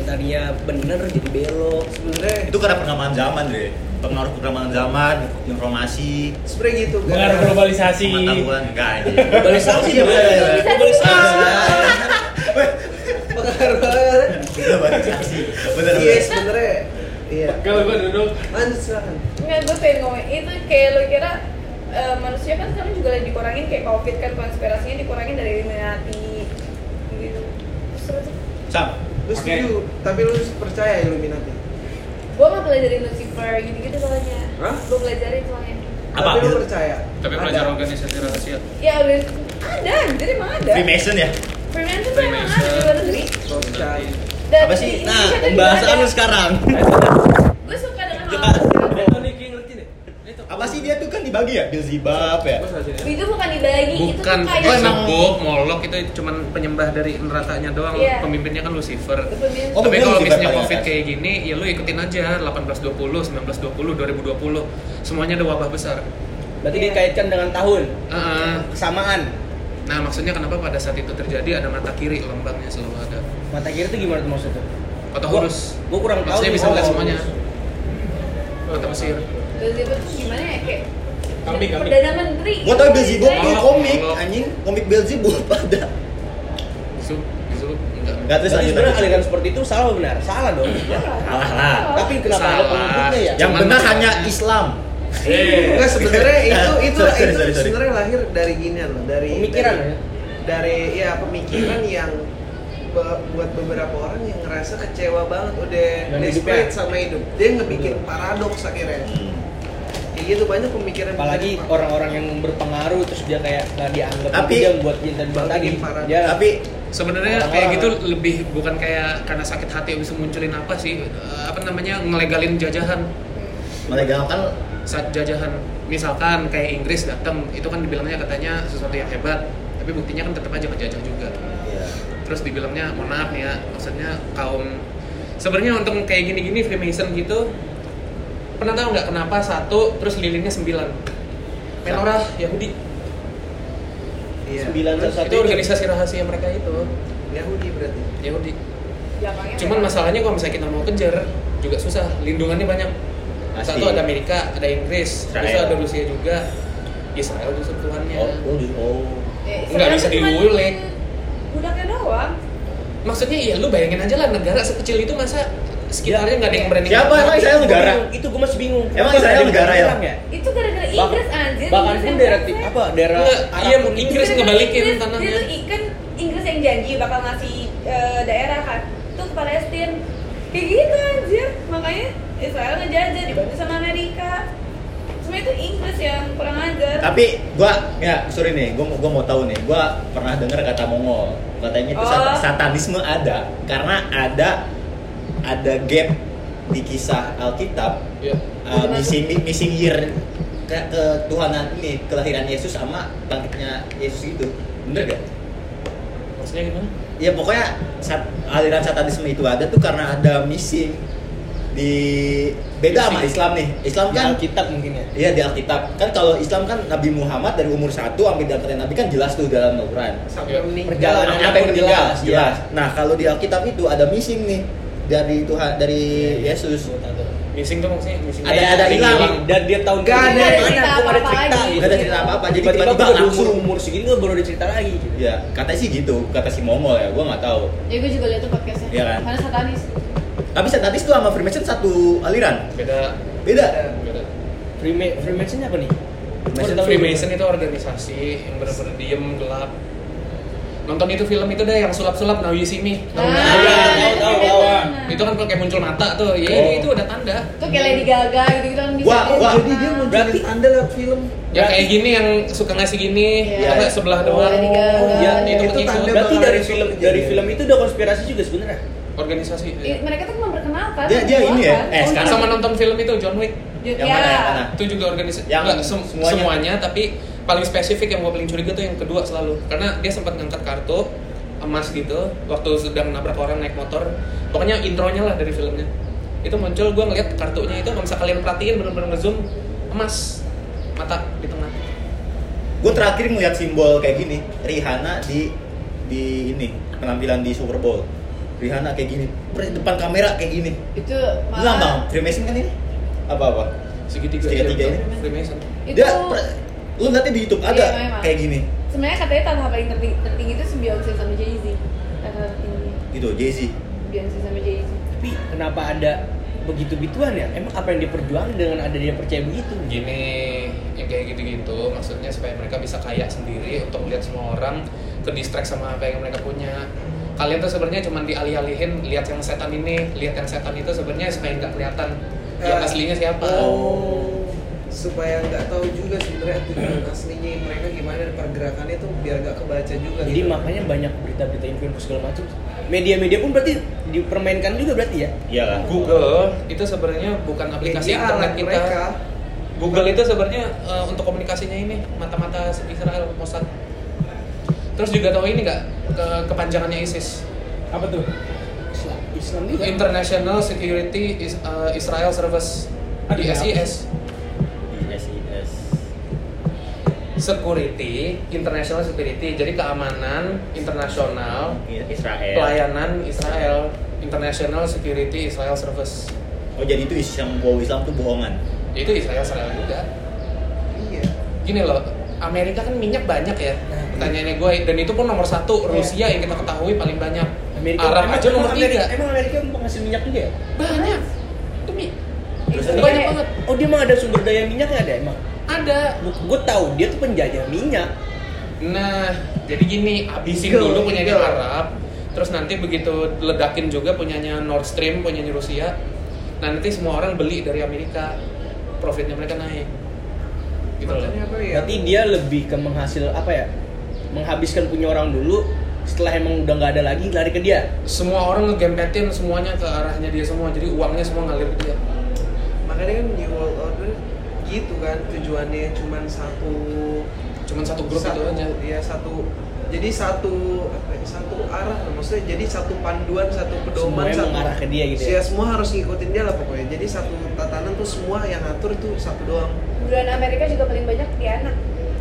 S3: Yang tadinya bener jadi belok.
S4: sebenarnya
S2: Itu karena perkembangan zaman deh. Pengaruh perkembangan zaman, informasi,
S4: sebenarnya gitu
S5: Pengaruh globalisasi.
S2: pengetahuan enggak aja.
S3: Globalisasi
S2: Iya,
S3: ya,
S2: iya, iya.
S1: Bisa
S3: Globalisasi.
S4: pengaruh
S2: Globalisasi. Iya, Bener.
S4: Iya
S2: bener.
S4: sebenarnya. Iya.
S5: Kalau gue duduk
S4: Lanjut silakan.
S1: Enggak, gue pengen ngomong itu kayak lo kira eh, manusia kan sekarang juga lagi dikurangin kayak covid kan konspirasinya dikurangin dari Illuminati gitu Terus apa tuh?
S2: Sam,
S4: Lu
S5: Oke.
S4: setuju, tapi lu percaya Illuminati?
S1: gue nggak pelajari Lucifer gitu-gitu soalnya
S4: Hah?
S1: gue pelajarin soalnya
S2: Apa?
S4: Tapi lu percaya?
S6: Tapi
S4: Ada.
S6: pelajar organisasi rahasia.
S1: ya udah ada jadi emang ada
S2: Freemason ya?
S1: Freemason tuh emang ada di
S6: Freemason.
S1: luar negeri
S4: Sosial.
S1: dan
S2: Apa sih?
S1: di
S3: Nah,
S1: Indonesia tuh juga
S3: pembahasan
S1: ada.
S3: lu sekarang.
S1: gue suka dengan hal
S3: Coba.
S5: Itu nih, kayak ngerti deh Itu.
S2: Apa sih dia tuh kan dibagi ya? Beelzebub ya?
S3: Iya.
S5: Gua salah sini.
S1: itu bukan dibagi itu
S6: Bukan
S1: tuh
S2: Oh,
S1: kayak
S2: emang-
S6: sebok, molok itu cuman penyembah dari nerakanya doang.
S1: Iya.
S6: Pemimpinnya kan Lucifer.
S1: Freemason.
S2: Oh,
S6: Tapi
S2: bener
S4: Iya.
S6: kalau
S2: Lucifer
S6: misalnya
S2: paling
S6: covid
S2: atas.
S6: kayak gini, ya lu ikutin aja 1820, 1920, 2020 Semuanya ada wabah besar
S3: Berarti dikaitkan dengan tahun
S6: Heeh.
S3: kesamaan.
S6: Nah maksudnya kenapa pada saat itu terjadi ada mata kiri lambangnya selalu ada
S3: Mata kiri itu gimana tuh maksudnya?
S6: Kota hurus
S3: Gua kurang tahu. Oh.
S6: Maksudnya
S3: nih,
S6: bisa
S3: kalau
S6: melihat
S3: Horus.
S6: semuanya Kota Mesir
S1: Lucifer tuh gimana ya kayak
S5: Kambing, kambing.
S1: perdana menteri Iya,
S2: Gua tau Beelzebub tuh
S6: Molok,
S2: komik
S6: molok.
S2: anjing, komik Beelzebub ada.
S6: Zul, Zul, enggak
S2: Enggak
S3: Berarti
S2: terus lanjut
S3: sebenarnya
S2: lagi.
S3: aliran seperti itu salah benar? Salah dong.
S1: Iya,
S2: Salah lah.
S3: Tapi kenapa ada
S6: Salah.
S3: pengikutnya ya?
S2: Yang
S6: Cuman
S2: benar
S6: maksudnya-
S2: hanya Islam.
S5: Eh,
S4: Enggak sebenarnya itu
S2: Sorry,
S4: itu
S2: sorry,
S4: itu
S2: sorry, sorry.
S4: sebenarnya lahir dari ginian loh, dari
S3: Pemikiran
S4: dari,
S3: ya?
S4: dari ya pemikiran yang be- buat beberapa orang yang ngerasa kecewa banget udah
S3: Dan hidupnya.
S4: desperate sama hidup. Dia ngebikin paradoks akhirnya.
S2: Hmm.
S4: Kayak gitu banyak pemikiran
S3: apalagi orang-orang yang berpengaruh terus dia kayak nggak dianggap
S2: Tapi-
S3: itu dia yang buat kita bilang tadi Ya,
S4: Bikin parah.
S3: dia
S2: Ya, Tapi
S6: Sebenarnya
S3: Orang-orang. ya.
S6: kayak gitu lebih bukan kayak karena sakit hati bisa munculin apa sih eh, apa namanya ngelegalin jajahan
S2: melegalkan
S6: saat jajahan misalkan kayak Inggris datang itu kan dibilangnya katanya sesuatu yang hebat tapi buktinya kan tetap aja ngejajah juga
S3: Iya.
S6: terus dibilangnya mohon maaf nih ya maksudnya kaum sebenarnya untuk kayak gini-gini Freemason gitu pernah tahu nggak kenapa satu terus lilinnya sembilan Menorah Yahudi
S4: Iya.
S3: sembilan
S6: itu
S3: satu
S6: organisasi rahasia mereka itu
S4: Yahudi berarti.
S6: Yahudi
S1: Belakangnya
S6: Cuman
S2: Iya.
S1: merah.
S6: masalahnya kalau misalnya kita mau kejar juga susah, lindungannya banyak.
S2: Pasti.
S6: Satu ada Amerika, ada Inggris,
S2: Israel.
S6: terus ada Rusia juga. Israel justru Tuhannya.
S2: oh, oh, oh.
S1: Ya,
S6: Nggak
S1: sebenarnya
S6: bisa
S1: cuman
S6: diulik.
S1: budaknya doang
S6: Maksudnya ya lu bayangin aja lah negara sekecil itu masa sekitarnya nggak ada yang berani.
S2: Ya. Siapa emang Israel negara?
S3: itu gue masih bingung
S2: Emang
S3: Kenapa
S2: Israel
S3: ada di
S2: negara ya?
S3: Jepang
S1: itu gara-gara
S3: Bah-
S1: Inggris anjir
S3: bahkan
S1: Inggris
S3: pun
S1: yang
S3: daerah
S1: paksa.
S3: apa daerah
S6: Nggak,
S3: Arab
S6: iya,
S3: pun
S6: mungkin.
S3: Inggris
S6: Inggris ngebalikin
S1: Inggris,
S6: tanahnya.
S1: dia tuh ikan Inggris yang janji bakal ngasih eh, daerah kan tuh ke Palestina kayak gitu anjir makanya Israel ngejajah dibantu sama Amerika sebenarnya itu Inggris yang kurang ajar
S2: Tapi gua ya sorry nih, gua gua mau tahu nih. Gua pernah dengar kata Mongol. Katanya itu sat-
S1: Oh.
S2: satanisme ada karena ada ada gap di kisah Alkitab
S6: Iya.
S2: uh, missing missing year ke- ketuhanan ini kelahiran Yesus sama bangkitnya Yesus gitu bener gak?
S3: maksudnya gimana
S2: ya pokoknya sat- aliran satanisme itu ada tuh karena ada missing di beda sama Islam nih Islam kan
S7: Alkitab mungkin ya
S2: Iya di Alkitab. Kan kalau Islam kan Nabi Muhammad dari umur 1 sampai diangkatnya Nabi kan jelas tuh dalam Al-Quran.
S3: Iya.
S7: perjalanan
S2: Sampai
S7: pun
S2: meninggal,
S7: jelas jelas
S2: jelas. Nah, kalau di Alkitab itu ada missing nih dari Tuhan dari Yesus.
S3: missing tuh maksudnya missing
S2: Ada ada hilang.
S7: dan dia tahun
S4: Gak ada
S7: kemudian,
S1: cerita
S7: "Anak, gua
S1: apa-apa lagi."
S7: gitu.
S2: Gak ada cerita apa-apa. Jadi
S7: tiba-tiba
S2: tiba-tiba
S7: gua udah umur
S2: langsung.
S7: umur segini gua baru ada cerita lagi gitu.
S2: Ya, katanya sih gitu, kata si Mongol ya, gua nggak tahu.
S1: Ya gue juga liat tuh podcastnya
S2: Iya kan?
S1: Karena satanis
S2: Tapi satanis tuh sama Freemason satu aliran.
S3: beda
S2: Beda.
S3: beda
S7: Freema- Freemason apa nih
S2: Freemason-
S3: Freemason itu organisasi yang benar-benar diem gelap nonton itu film itu deh yang sulap-sulap now you see me Tau nggak?
S1: Ah,
S7: iya,
S1: iya,
S7: tahu,
S1: iya,
S7: tahu,
S1: iya.
S3: itu kan kalau kayak muncul mata tuh ya
S7: Oh.
S3: itu udah tanda
S1: Tuh kayak Lady Gaga gitu-gitu kan bisa
S2: Wah,
S1: dia
S2: wah.
S1: warna.
S4: Jadi dia munculin anda lewat film.
S3: ya kayak gini yang suka ngasih gini atau
S1: Iya.
S3: nggak sebelah
S1: Oh,
S3: doang
S1: Lady Gaga.
S3: ya itu,
S1: Itu kan-
S3: itu
S4: tanda
S7: berarti
S4: bakal
S7: dari
S4: ada
S7: film
S4: kejadian.
S7: dari film itu udah konspirasi juga sebenarnya
S3: organisasi
S1: I- Iya, Mereka tuh memperkenalkan
S2: Dia- dia ini ya?
S1: Oh,
S2: Eh, sekarang
S1: iya.
S3: sama nonton film itu John Wick
S1: Dia-
S2: Yang mana,
S1: ya.
S2: yang mana?
S3: itu juga organisasi
S2: Yang
S3: Nggak, sem-
S2: semuanya.
S3: semuanya. tapi paling spesifik yang gue paling curiga tuh yang kedua selalu karena dia sempat ngangkat kartu emas gitu waktu sedang nabrak orang naik motor pokoknya intronya lah dari filmnya itu muncul gue ngeliat kartunya itu kalau misalnya kalian perhatiin bener-bener ngezoom emas mata di tengah
S2: Gue terakhir ngeliat simbol kayak gini, Rihanna di di ini penampilan di Super Bowl. Rihanna kayak gini, depan kamera kayak gini.
S1: Itu
S2: Hilang bang,
S1: malah
S2: Freemason kan ini? Apa-apa?
S3: segitiga
S2: Segitiga ini.
S3: Freemason
S1: Itu
S2: Dia, per- lu nanti di Youtube ada
S1: Iya, memang.
S2: kayak gini
S1: sebenarnya katanya tahap paling tertinggi, tertinggi itu si Beyonce sama Jay-Z Tahap tertinggi
S2: Gitu, Jay-Z
S1: Beyonce sama Jay-Z
S7: tapi kenapa ada begitu begituan ya emang apa yang diperjuangkan dengan ada dia percaya begitu
S3: gini yang kayak gitu-gitu maksudnya supaya mereka bisa kaya sendiri untuk lihat semua orang ke distract sama apa yang mereka punya kalian tuh sebenarnya cuma dialih-alihin lihat yang setan ini lihat yang setan itu sebenarnya supaya nggak kelihatan yang
S4: Eh,
S3: Ya, aslinya siapa
S4: Oh, supaya nggak tahu juga sebenarnya tujuan aslinya mereka gimana dan pergerakannya tuh biar nggak kebaca juga.
S7: jadi
S4: gitu.
S7: makanya banyak berita-berita info segala macam media-media pun berarti dipermainkan juga berarti ya
S2: Iya lah
S3: Google itu sebenarnya bukan aplikasi
S4: Jadi
S3: internet
S4: alat
S3: kita
S4: mereka.
S3: Google itu sebenarnya eh, untuk komunikasinya ini mata-mata Israel Mossad terus juga tahu ini nggak ke- kepanjangannya ISIS
S5: Apa tuh?
S7: Islam Islam juga
S3: International Security is, eh, Israel Service
S5: Ada
S3: iya,
S5: apa sih?
S3: ISIS
S2: ISIS
S3: security, international security, jadi keamanan internasional,
S7: Iya.
S2: Israel
S3: pelayanan Israel, international security Israel service.
S2: Oh jadi itu is- yang bawa Islam tuh bohongan
S3: Ya, Itu Israel Israel juga.
S4: Iya.
S3: Gini loh, Amerika kan minyak banyak ya.
S7: Nah,
S3: Pertanyaannya gue dan itu pun nomor satu Rusia yang kita ketahui paling banyak. Arab
S7: emang-
S3: aja
S7: emang
S3: nomor
S7: Iya. Amerika,
S3: tiga.
S7: emang Amerika penghasil minyak juga ya
S3: Banyak. Itu mi-
S1: Terus
S3: banyak
S1: ada-
S3: banget.
S7: oh dia emang ada sumber daya minyaknya ada emang
S3: Ada.
S7: gue tahu dia tuh penjajah minyak
S3: Nah, jadi gini, habisin
S4: Go,
S3: dulu punyanya
S4: go.
S3: Arab, terus nanti begitu ledakin juga punyanya Nord Stream, punyanya Rusia. Nah, nanti semua orang beli dari Amerika. Profitnya mereka naik. Gitu loh.
S4: Makanya apa ya?
S7: berarti dia lebih ke menghasil apa ya menghabiskan punya orang dulu setelah emang udah nggak ada lagi lari ke dia
S3: Semua orang ngegempetin semuanya ke arahnya dia semua. Jadi uangnya semua ngalir ke dia.
S4: makanya kan New World Order gitu kan tujuannya cuman satu
S3: Cuman satu grup
S4: satu,
S3: itu aja.
S4: ya satu jadi satu apa ya, satu arah lah. maksudnya jadi satu panduan satu pedoman
S7: Semuanya
S4: satu
S7: mengarah ke dia gitu ya?
S4: ya semua harus ngikutin dia lah pokoknya jadi satu tatanan tuh semua yang ngatur tuh satu doang
S1: Bulan Amerika juga paling banyak di anak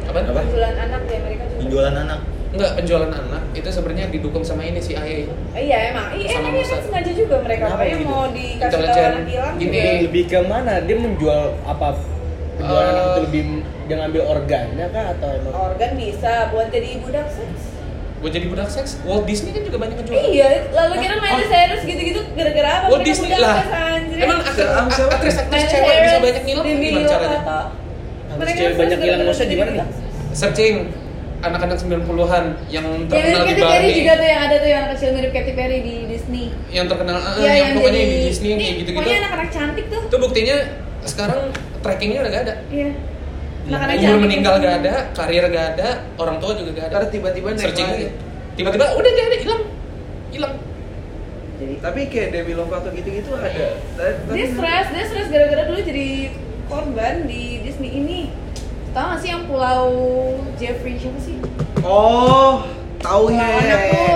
S3: Apa?
S2: Apa?
S1: Bulan anak di Amerika juga
S2: Penjualan anak
S3: Enggak, penjualan anak itu sebenarnya didukung sama ini E. CIA.
S1: Eh, Iya emang, iya
S3: Sama
S1: emang dia kan
S3: Mossad.
S1: sengaja juga mereka
S7: Kenapa
S1: Makanya
S7: gitu?
S1: mau dikasih tau
S3: Intelijen.
S1: anak hilang
S3: Gini.
S1: juga.
S7: lebih ke mana dia menjual apa penjualan
S3: Eh.
S7: anak itu lebih dia ngambil organnya kah atau emang
S1: Organ bisa buat jadi budak seks
S3: Buat jadi budak seks, Walt Disney kan juga banyak penjualan.
S1: Iya, lalu kira Miley Cyrus gitu-gitu gara-gara apa?
S3: Walt Oh,
S1: Mereka
S3: Disney
S1: budak
S3: lah.
S1: seks, anjir.
S3: Emang aktor-
S4: Siapa, siapa?
S3: aktris-aktris
S1: Miley
S3: cewek bisa
S1: Cyrus,
S3: banyak ngilang
S1: Demi
S3: gimana caranya?
S1: Lovato.
S7: Habis
S1: Mereka
S7: cewek
S1: terus
S7: banyak hilang
S1: gara-gara
S7: Mossad
S1: jadi
S7: gimana
S1: budak
S7: nih?
S1: seks.
S3: searching anak-anak 90-an yang
S1: Ya,
S3: terkenal di
S1: Katy Perry
S3: Bali
S1: juga tuh yang ada tuh yang kecil mirip Katy Perry di Disney.
S3: yang terkenal eh,
S1: Iya,
S3: yang, pokoknya
S1: jadi-
S3: di Disney
S1: Nih,
S3: kayak gitu-gitu
S1: Pokoknya anak-anak cantik tuh.
S3: itu buktinya sekarang trackingnya udah gak ada
S1: Iya. Anak-anak
S3: umur
S1: cantik.
S3: meninggal gak ada karir gak ada orang tua juga gak ada
S4: Ntar tiba-tiba naik
S3: searching
S4: lagi.
S3: aja. tiba-tiba udah gak ada hilang hilang
S4: tapi kayak Demi Lovato gitu-gitu ada
S3: Iya.
S1: Dia stres, dia stres gara-gara dulu jadi korban di Disney ini tau gak sih yang pulau Jeffrey siapa sih?
S4: Oh, tahu
S1: Pulau
S4: ya.
S1: anak tuh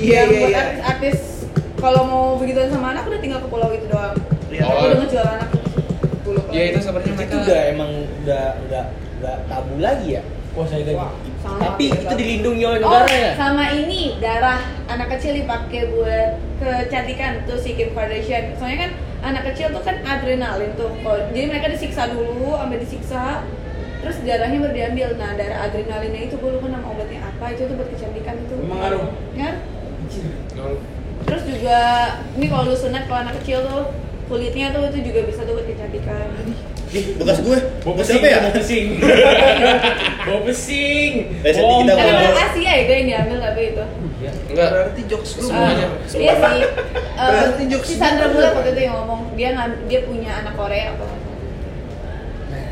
S4: Iya
S1: Iya, yang
S4: iya
S1: buat
S4: iya.
S1: artis-artis kalau mau begituan sama anak udah tinggal ke pulau itu doang
S4: Iya.
S1: Aku udah ngejual anak dulu
S3: ya itu sepertinya
S5: itu
S3: mereka
S5: udah emang udah udah udah tabu lagi ya
S8: Wah saya tadi.
S1: Wah, sama
S5: tapi
S1: aku
S5: itu
S1: juga.
S5: dilindungi oleh
S1: Oh,
S5: negara ya
S1: sama ini darah anak kecil dipakai buat kecantikan tuh si Kim Kardashian. Soalnya kan anak kecil tuh kan adrenalin tuh. Kalau- Jadi mereka disiksa dulu, sampai disiksa, terus darahnya baru diambil. Nah, darah adrenalinnya itu gue lupa nama obatnya apa. Itu tuh buat kecantikan itu.
S8: Emang ngaruh?
S1: Kan? Terus juga ini kalau lu sunat kalau anak kecil tuh kulitnya tuh itu juga bisa tuh buat kecantikan.
S5: Iya,
S2: Ih, bekas gue.
S8: Bau
S2: Bekas
S8: pesing,
S2: siapa ya?
S8: bau pesing. Bau pesing.
S2: Eh, jadi
S8: Bau-
S2: kita
S5: iya.
S1: Karena
S2: mau-
S1: anak Asia ya gue yang diambil tapi itu.
S3: enggak
S4: Berarti jokes lu.
S3: Semuanya.
S1: Eh, iya sih. Eh,
S4: Berarti jokes
S1: si Sandra
S4: semua.
S1: Bullock waktu itu yang ngomong dia ngam- dia punya anak Korea apa?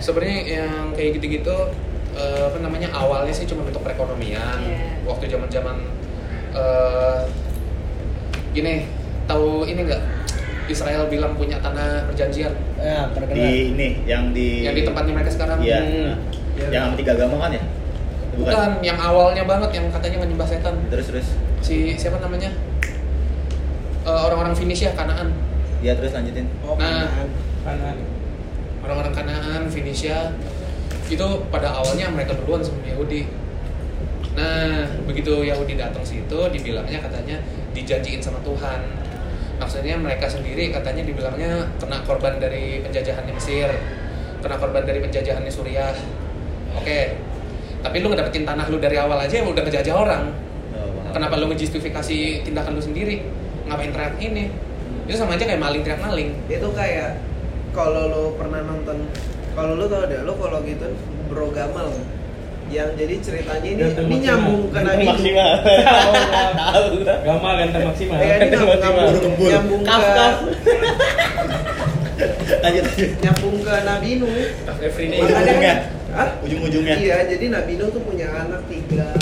S3: sebenarnya yang kayak gitu-gitu eh, apa namanya awalnya sih cuma untuk perekonomian
S1: Iya.
S3: waktu zaman-zaman eh, gini tahu ini enggak Israel bilang punya tanah perjanjian
S5: ya pernah
S2: Di
S5: dengar
S2: ini yang di
S3: yang di tempatnya mereka sekarang
S2: Iya.
S3: Hmm.
S2: nah. Yang sama tiga agama kan ya?
S3: bukan. yang awalnya banget yang katanya menyembah setan
S2: Terus terus.
S3: si siapa namanya Eh, orang-orang Finish ya Kanaan
S2: Iya, terus lanjutin.
S4: Oh,
S3: Nah.
S4: kanan.
S8: Kanan.
S3: orang-orang Kanaan, Venesia itu pada awalnya mereka duluan sama Yahudi. Nah, begitu Yahudi datang situ, dibilangnya katanya dijanjiin sama Tuhan. Maksudnya mereka sendiri katanya dibilangnya kena korban dari penjajahannya Mesir, kena korban dari penjajahannya Suriah. Oke. Tapi lu ngedapetin tanah lu dari awal aja udah ngejajah orang.
S2: Oh, paham.
S3: Kenapa lu ngejustifikasi tindakan lu sendiri? Ngapain teriak ini? Itu sama aja kayak maling teriak maling.
S4: Itu kayak kalau lo pernah nonton kalau lo tau deh lo kalau gitu bro gamal yang jadi ceritanya ini
S8: Ganteng
S4: ini
S8: maksimal.
S4: nyambung ke Nabi
S2: Maksimal.
S5: Ya
S4: tahu lah
S8: Gamal ganteng maksimal.
S4: Eh, ini
S8: Ganteng
S4: nyambung,
S8: maksimal.
S2: Burung kembul.
S4: nyambung ke
S5: Kaf-kaf.
S2: Lanjut lanjut.
S4: nyambung ke Nabi Nuh
S8: Every day.
S2: Ujung-ujungnya.
S4: Eh,
S5: kan?
S4: Hah?
S2: Ujung-ujungnya.
S4: Iya, jadi Nabi Nuh tuh punya anak tiga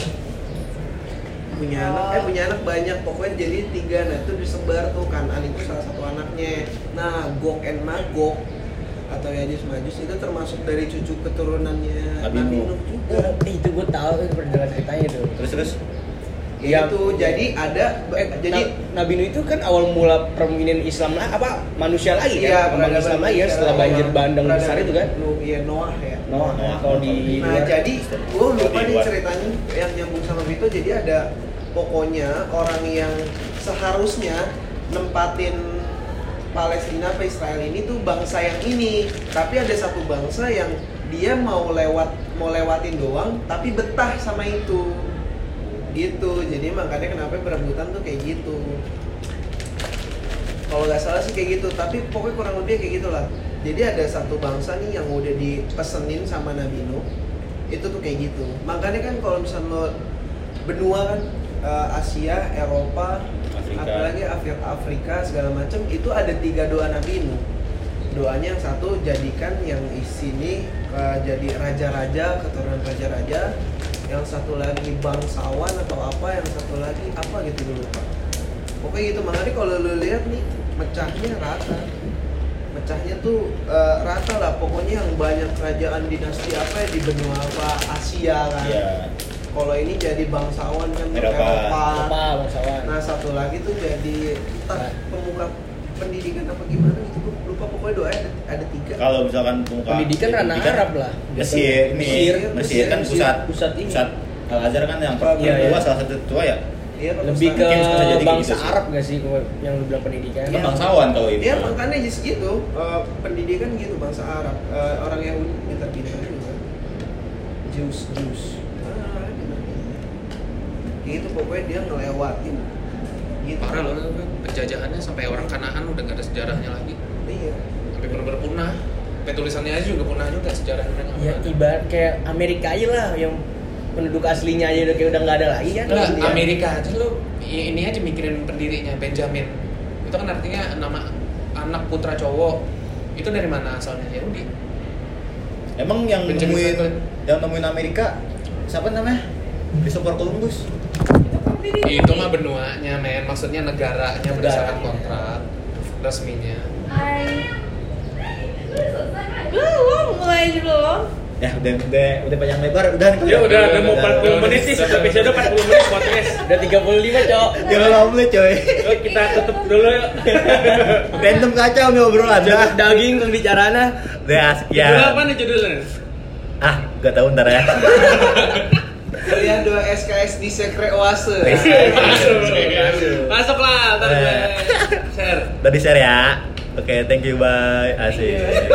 S4: punya
S1: Oh.
S4: anak eh punya anak banyak pokoknya jadi tiga nah itu disebar tuh kanan itu salah satu anaknya nah Gog and Magog atau Yajus Majus itu termasuk dari cucu keturunannya
S2: Nabi
S4: Nabi,
S2: Nuh.
S4: Nuh juga
S5: Eh, itu gue tahu itu pernah dengar ceritanya tuh
S2: Terus terus.
S4: ya
S5: Iya.
S4: itu jadi ada
S5: Eh,
S4: eh, jadi
S5: Na- Nabi Nuh itu kan awal mula permukiman Islam lah apa manusia lagi kan?
S4: iya,
S5: Permulaan
S4: peradaban
S5: Islam lagi ya
S4: manusia
S5: setelah
S4: lama.
S5: banjir bandang
S4: Peradaban
S5: besar itu kan.
S4: Nuh, iya Noah ya
S5: Noah,
S2: Noah.
S5: kalau di
S4: Nah
S5: luar.
S4: jadi gue
S2: Di
S4: lupa nih
S2: Iya. luar.
S4: ceritanya yang nyambung sama itu jadi ada pokoknya orang yang seharusnya nempatin Palestina apa Israel ini tuh bangsa yang ini tapi ada satu bangsa yang dia mau lewat mau lewatin doang tapi betah sama itu gitu jadi makanya kenapa perebutan tuh kayak gitu kalau nggak salah sih kayak gitu tapi pokoknya kurang lebih kayak gitulah jadi ada satu bangsa nih yang udah dipesenin sama Nabi Nuh itu tuh kayak gitu makanya kan kalau misalnya lo benua kan eh, Asia Eropa
S2: Afrika.
S4: apalagi Afrika, Afrika segala macam itu ada tiga doa Nabi Nuh doanya yang satu jadikan yang di sini eh, jadi raja-raja keturunan raja-raja yang satu lagi bangsawan atau apa yang satu lagi apa gitu dulu pak pokoknya gitu makanya kalau lu lihat nih mecahnya rata mecahnya tuh eh, rata lah pokoknya yang banyak kerajaan dinasti apa ya di benua apa Asia kan
S2: Iya.
S4: kalau ini jadi bangsawan kan
S2: Eropa.
S5: apa bangsawan.
S4: Nah satu lagi tuh jadi entah pemuka pendidikan apa gimana gitu gua lupa pokoknya doa ada, ada tiga.
S2: Kalau misalkan pemuka
S5: pendidikan ranah Arab lah.
S2: Mesir, Mesir,
S4: Mesir,
S2: Mesir
S4: Mesir,
S2: kan
S4: Mesir,
S2: pusat
S5: pusat ini.
S2: pusat Al Azhar kan yang
S4: Iya,
S2: pertua
S5: iya.
S2: salah satu tua ya.
S4: Iya, Pak
S5: Lebih
S4: Ustaz.
S5: ke
S2: Mungkin bisa jadi kayak
S5: Eh,
S2: gitu
S5: bangsa
S2: sih.
S5: Arab gak sih kalau yang lu bilang pendidikan?
S4: Iya.
S2: Bangsawan kalau itu.
S4: Iya makanya jadi segitu eh, pendidikan gitu bangsa Arab Eh, orang Yahudi pintar-pintar juga. Jews Jews. Ah, pintar-pintar. Gitu pokoknya dia ngelewatin. Gitu.
S3: Parah loh penjajahannya sampai orang Kanaan udah gak ada sejarahnya lagi.
S4: Iya.
S3: sampai benar-benar punah sampai tulisannya aja juga punah juga sejarahnya mereka
S5: Ya ibarat kayak Amerika aja lah yang penduduk aslinya aja udah kayak udah nggak ada lagi kan.
S3: Nggak,
S5: Iya.
S3: Amerika aja lu i- ini aja mikirin pendirinya Benjamin itu kan artinya nama anak putra cowok itu dari mana asalnya Yahudi
S2: Emang yang
S3: Benjamin
S2: nemuin
S3: Franklin.
S2: yang nemuin Amerika siapa namanya? Christopher Columbus.
S1: Gitu kan.
S3: itu mah benuanya men maksudnya negaranya berdasarkan kontrak resminya
S1: Hai. Belum, mulai aja belum.
S2: ya udah udah udah panjang lebar udah nih.
S5: Ya udah, udah mau 40 menit nih,
S3: Udah, udah.
S5: episode 40 menit podcast.
S9: Udah 35, Cok.
S2: jangan lama Ya, coy
S5: Yuk, kita tutup dulu yuk.
S2: random kacau nih obrolan dah
S9: Daging pembicarana.
S2: udah
S5: Judul
S2: sekian
S5: apa nih judulnya?
S2: ah gak tahu ntar ya
S4: Kalian dua SKS di Iya. Sekre Oase.
S5: Masuk. Masuklah, ntar gue share.
S2: tadi share ya oke thank you bye asik